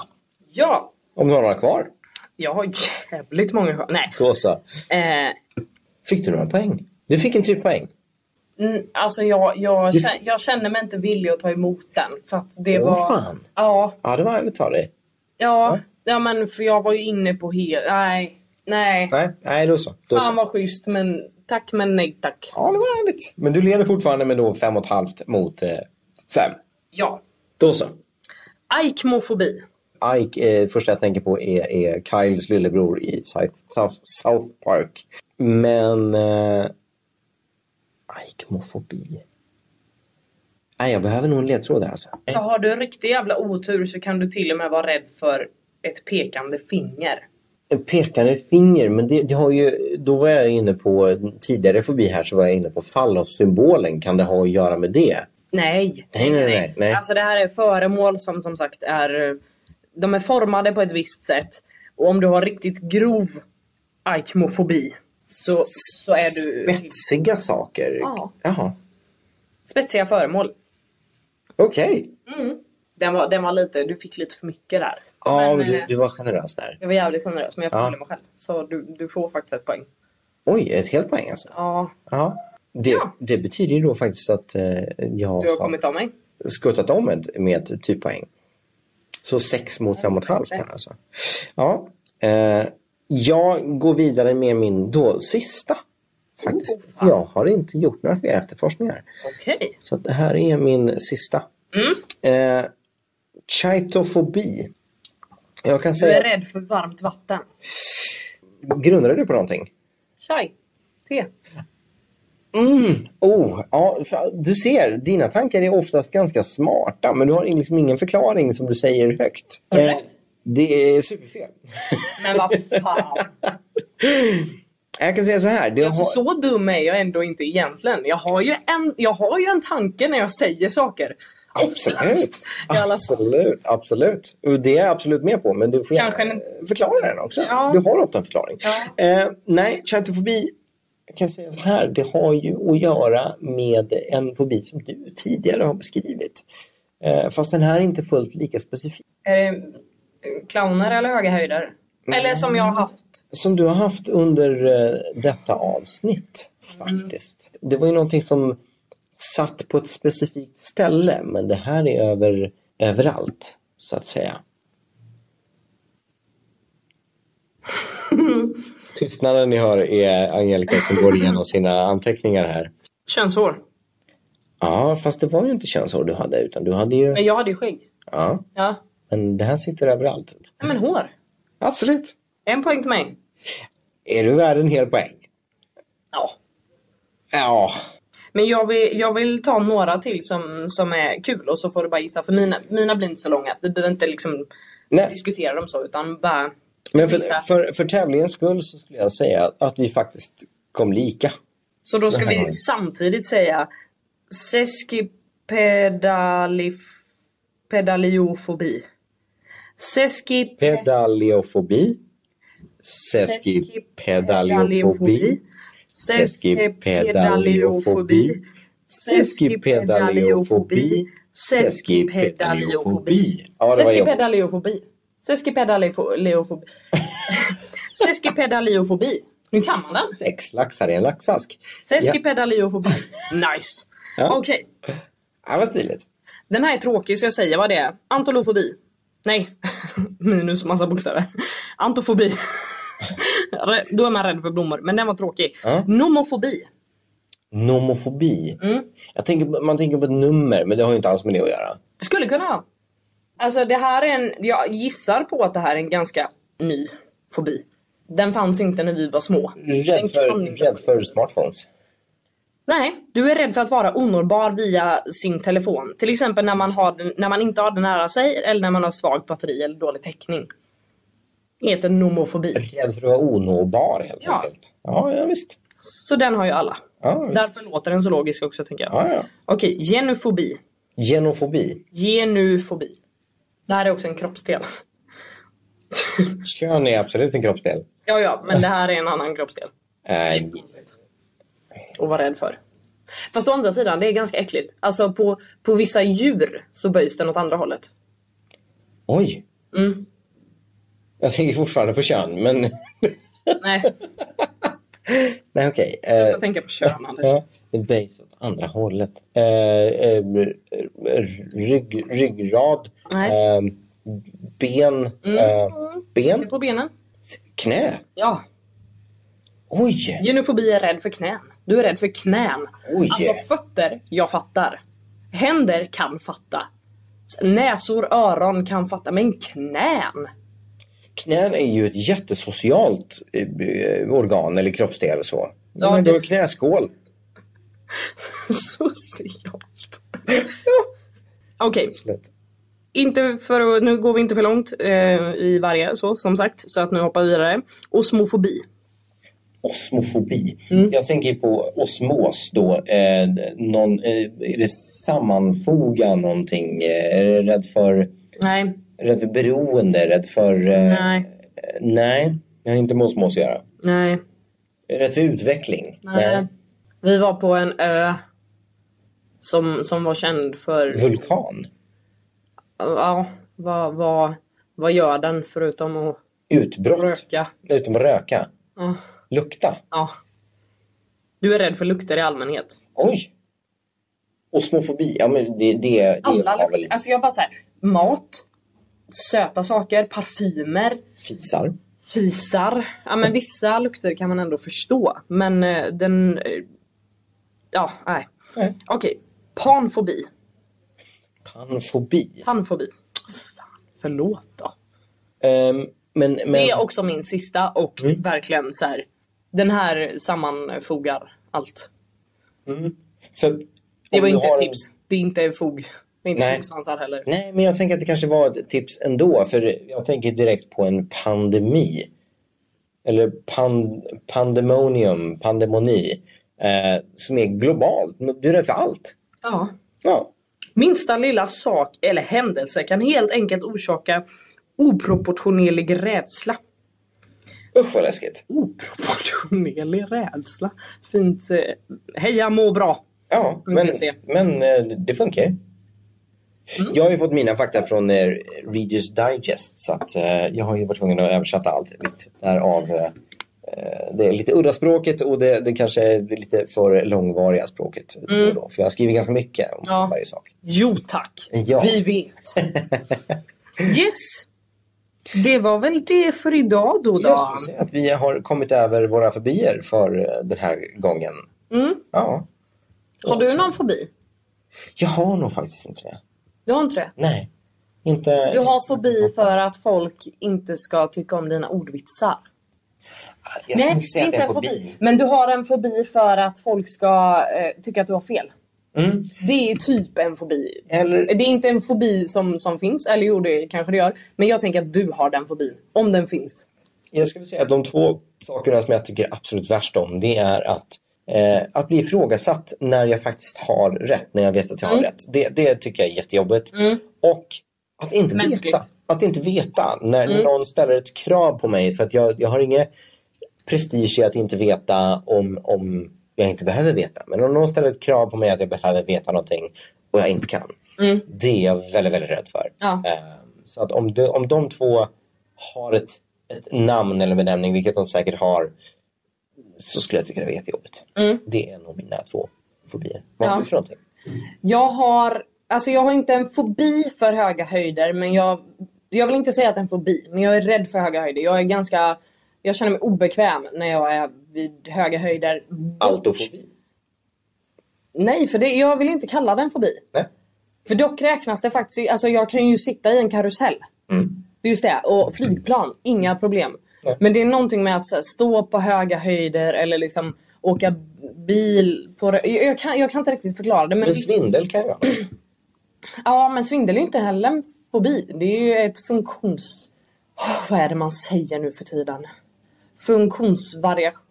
ja, Om du har några kvar. jag har jävligt många skäl. Nej. Då så. Eh, Fick du några poäng? Du fick en typ poäng. Mm, Alltså jag, jag, Du- kä- jag känner mig inte villig att ta emot den. För att det Åh, var... fan. Ja, Ja, det var ärligt av dig. ja, ja, men för jag var ju inne på hel... Nej, nej. Nej, nej då så. Då Fan så. vad schysst men tack men nej tack. Ja, det var ärligt. Men du leder fortfarande med då fem och ett halvt mot eh, fem. Ja. Då så. Aikmofobi. Ike, eh, första jag tänker på är, är Kyles lillebror i South, South- South Park. Men... Eh, Ike-mofobi. Nej, jag behöver nog en ledtråd här alltså. Så har du riktig jävla otur så kan du till och med vara rädd för ett pekande finger. En pekande finger, men det, det har ju... Då var jag inne på, tidigare fobi här så var jag inne på fall-off-symbolen. Kan det ha att göra med det? Nej. Nej, nej, nej, nej. Alltså det här är föremål som som sagt är... eh, De är formade på ett visst sätt. Och om du har riktigt grov aikmofobi så, så är du... Spetsiga saker? Ja. Jaha. Spetsiga föremål. Okej. Mm. Den, var, den var lite... Du fick lite för mycket där. Ja, Men, du, eh, du var generös där. Jag var jävligt generös men jag får Ja. hålla mig själv. Så du, du får faktiskt ett poäng. Oj, ett helt poäng alltså. Ja, Ja. Det, Ja. det betyder ju då faktiskt att eh, jag du har har kommit av mig. skuttat om med, med typ poäng. Så 6 mot 5,5 här alltså. Ja. Eh, jag går vidare med min då sista. Faktiskt. Oh, fan. jag har inte gjort några fler efterforskningar. Okej. Så att det här är min sista. Mm. Eh, chaitofobi. Jag kan Du är säga, rädd för varmt vatten. grundar du på någonting? Chai. Te. Mm. Oh, ja, fa- du ser, dina tankar är oftast ganska smarta men du har liksom ingen förklaring som du säger högt. Har du Eh, rätt? Det är superfel. Men vad fan. Jag kan säga så här. Det har... Alltså, så dum är jag ändå inte egentligen. Jag har ju en, jag har ju en tanke när jag säger saker. Absolut. Oftast, I alla fall. absolut, absolut. Och Det är jag absolut med på men du får gärna Kanske en- förklara den också. Ja. Du har ofta en förklaring. Ja. Eh, nej, chaitofobi. Jag kan säga så här. Det har ju att göra med en fobi som du tidigare har beskrivit. Eh, fast den här är inte fullt lika specifik. Är det eh, clowner eller höga höjder? Mm. Eller som jag har haft. som du har haft under eh, detta avsnitt faktiskt. Det var ju någonting som satt på ett specifikt ställe men det här är över, överallt så att säga. Tystnaden ni hör är Angelica som går igenom sina anteckningar här. Könshår. Ja, fast det var ju inte könshår du hade utan du hade ju... Men jag hade ju skägg. Ja, Ja. men det här sitter överallt. Nej, men hår. Absolut. En poäng till mig. Är du värd en hel poäng? Ja. Ja. Men jag vill, jag vill ta några till som, som är kul och så får du bara gissa. För mina, mina blir inte så långa. Vi behöver inte liksom Nej. diskutera dem så utan bara... Men för, Visa. för, för tävlingens skull så skulle jag säga att vi faktiskt kom lika. Så då ska Den här vi gången. samtidigt säga seskipedalif... pedaliofobi. Seskip... Pedaliofobi. Seskipedaliofobi. Seskipedaliofobi. Seskipedaliofobi. Seskipedaliofobi. Seskipedaliofobi. Ja, det var jobbigt. Seskipedaliofobi. (laughs) Seskipedaliofobi. Seskipedaliofobi. Nu kan man den. Sex laxar i en laxask. Seskipedaliofobi. Nice. Ja. Okej. Ja, vad stiligt. Den här är tråkig så jag säger vad det är. Antolofobi. Nej. (laughs) Minus massa bokstäver. Antofobi. (laughs) Rä- Då är man rädd för blommor. Men den var tråkig. Ja. Nomofobi. Nomofobi. Mm. Jag tänker, på- man tänker på ett nummer, men det har ju inte alls med det att göra. Det skulle kunna vara. Alltså det här är en, jag gissar på att det här är en ganska ny fobi. Den fanns inte när vi var små. Den Rädd för, kan inte- rädd för smartphones. Nej, du är rädd för att vara onåbar via sin telefon. Till exempel när man, har den, när man inte har den nära sig eller när man har svag batteri eller dålig täckning. Det heter nomofobi. Rädd för att vara onåbar helt Ja. enkelt. Ja, ja visst. Så den har ju alla. Ja, visst. Därför låter den så logisk också tänker jag. Ja, ja. Okej, genufobi. Genofobi. Genufobi. Det här är också en kroppsdel. (laughs) Kön är absolut en kroppsdel. Ja, ja, men det här är en annan kroppsdel. Eh, Och vara rädd för. Fast å andra sidan, det är ganska äckligt. Alltså på, på vissa djur så böjs den åt andra hållet. oj, Mm. jag tänker fortfarande på kön. Men Nej, nej, okej. Eh, jag tänker på kön Anders. ja, det böjs åt andra hållet. Eh, eh, rygg, ryggrad. Nej. Mm. Eh, ben. Eh, Sitter ben. på benen. Knä. Ja, Oj, genofobi är rädd för knän. Du är rädd för knän. oj. Alltså fötter, jag fattar. Händer kan fatta. Näsor, öron kan fatta. Men knän? (laughs) Knän är ju ett jättesocialt eh, organ eller kroppsdel och så. Ja, men det... det- Du har knäskål. Socialt. (laughs) Okej, Absolut. inte för att, nu går vi inte för långt eh, i varje så som sagt. Så att nu hoppar vi vidare. Osmofobi. Osmofobi. Mm. Jag tänker på osmos då. Eh, någon, eh, är det sammanfoga någonting? Eh, är det rädd för, Nej, rädd för beroende? Rädd för... Eh, nej, eh, nej, det har inte med osmos att göra. nej, Rädd för utveckling? nej. Vi var på en ö som, som var känd för Mm. Vulkan? Ja, vad, vad, vad gör den förutom att Utbrott? röka? Utom att röka? Ja, Lukta? ja. Du är rädd för lukter i allmänhet. Oj! Osmofobi, ja men det, det, det Alla har lukter. väl Alltså jag bara såhär, mat, söta saker, parfymer, fisar. fisar. Ja men vissa lukter kan man ändå förstå. Men eh, den... eh, Ja, nej. Nej. Okej. Panfobi. Panfobi. Panfobi. Fan, förlåt då. Ehm, men, men, Det är också min sista och Mm. verkligen så här. Den här sammanfogar allt. Mm. för, Det om var du inte har ett en- tips. Det är inte fog. Det är inte Nej. fogsvansar heller. Nej, men jag tänker att det kanske var ett tips ändå. För jag tänker direkt på en pandemi. Eller pan, pandemonium, pandemoni. Eh, som är globalt. Men Du är rädd för allt. Ja. Ja. Minsta lilla sak eller händelse kan helt enkelt orsaka oproportionerlig rädsla. Usch vad läskigt. Oproportionerlig rädsla. Fint. eh, Heja må bra. Ja, men, Intresse. men eh, det funkar ju. Mm. Jag har ju fått mina fakta från eh, Readers Digest så att eh, jag har ju varit tvungen att översätta allt mitt därav eh, eh, det är lite udda språket och det, det kanske är det lite för långvariga språket. då och Mm. Då, för jag skriver ganska mycket om Ja. varje sak. Jo tack. Ja. Vi vet. yes. Det var väl det för idag då. Jag då. skulle säga att vi har kommit över våra fobier för eh, den här gången. Mm. Ja. Har du Alltså, någon fobi? Jag har nog faktiskt inte det. Du har inte det? Nej. Inte... Du har fobi för att folk inte ska tycka om dina ordvitsar? Jag skulle inte säga att det är en fobi. Men du har en fobi för att folk ska eh, tycka att du har fel. Mm. Det är typ en fobi. Eller Det är inte en fobi som, som finns, eller jo det kanske det gör. Men jag tänker att du har den fobin, om den finns. Jag skulle säga att de två sakerna som jag tycker absolut värst om det är att, eh, att bli ifrågasatt när jag faktiskt har rätt, när jag vet att jag har Mm. rätt. Det, det tycker jag är jättejobbigt. Mm. Och att inte Mänskligt. veta. Att inte veta när Mm. någon ställer ett krav på mig för att jag, jag har ingen prestige i att inte veta om, om jag inte behöver veta. Men om någon ställer ett krav på mig att jag behöver veta någonting och jag inte kan. Mm. Det är jag väldigt, väldigt rädd för. Ja. Ehm, Så att om de, om de två har ett, ett namn eller benämning, vilket de säkert har, så skulle jag tycka det var jättejobbigt. Mm. Det är nog mina två fobier. Vad Ja. har du för någonting? Jag har, alltså jag har inte en fobi för höga höjder men jag, jag vill inte säga att det är en fobi men jag är rädd för höga höjder. Jag är ganska, jag känner mig obekväm när jag är vid höga höjder. Altofobi? Nej, för det, jag vill inte kalla den fobi. Nej. För dock räknas det faktiskt, i- alltså jag kan ju sitta i en karusell. Mm. Det är Just det, och flygplan, inga problem. Nej. Men det är någonting med att så här, stå på höga höjder eller liksom åka bil på... rö- Jag, jag, kan, jag kan inte riktigt förklara det. Men, Men svindel kan jag (clears throat) göra. ja, men svindel är ju inte heller en fobi. Det är ju ett funktions... Åh, vad är det man säger nu för tiden? Funktionsvariation.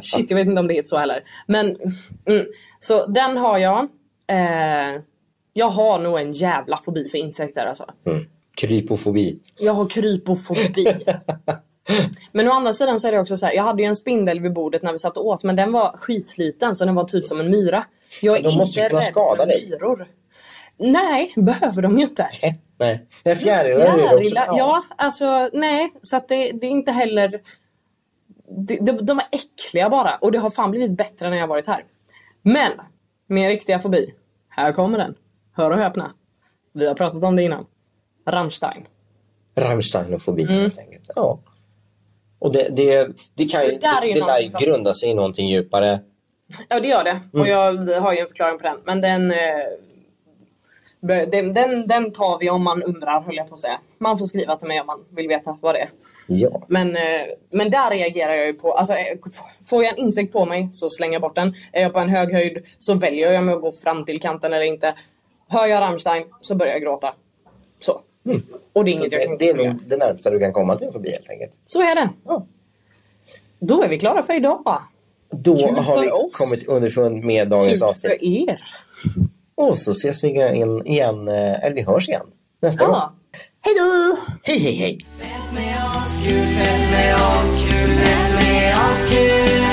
Shit, jag vet inte om det heter så heller. Men, mm. Så den har jag. Eh, jag har nog en jävla fobi för insekter alltså. Mm. Krypofobi. Jag har krypofobi. (laughs) Men å andra sidan så är det också så här, jag hade ju en spindel vid bordet när vi satt och åt men den var skitliten så den var typ som en myra. Jag är De måste ju inte kunna rädd skada för dig. myror. Nej, behöver de ju inte. Eh, Nej. Nej, Fjärilar är det också. Fjärilar- Ja, alltså nej. Så att det, det är inte heller... De, de, de är äckliga bara. Och det har fan blivit bättre när jag varit här. Men, min riktiga fobi. Här kommer den. Hör och häpna. Vi har pratat om det innan. Rammstein. Rammsteinofobi Mm. helt enkelt. Ja. Och det, det, det kan ju, Det där är ju det, det någonting som- där grundar sig i någonting djupare. Ja det gör det. Mm. Och jag har ju en förklaring på den. Men den, eh, be- den, den, den tar vi om man undrar höll jag på att säga. Man får skriva till mig om man vill veta vad det är. Ja. Men, eh, men där reagerar jag ju på, alltså, eh, f- får jag en insekt på mig så slänger jag bort den. Är jag på en hög höjd så väljer jag mig att gå fram till kanten eller inte. Hör jag Rammstein så börjar jag gråta. Så. Och det är inget Mm. jag Det, kan det är kontrollera. nog det närmsta du kan komma till en fobi helt enkelt. Så är det. Ja. Då är vi klara för idag. Då Kul har för vi oss. kommit underfund med dagens Kul avsnitt. för er. Och så ses vi igen, igen eh, eller vi hörs igen nästa gång. Ja. Hej då! Hej hej hej! Fett med oss, kul, fett med oss, kul, fett med oss, kul.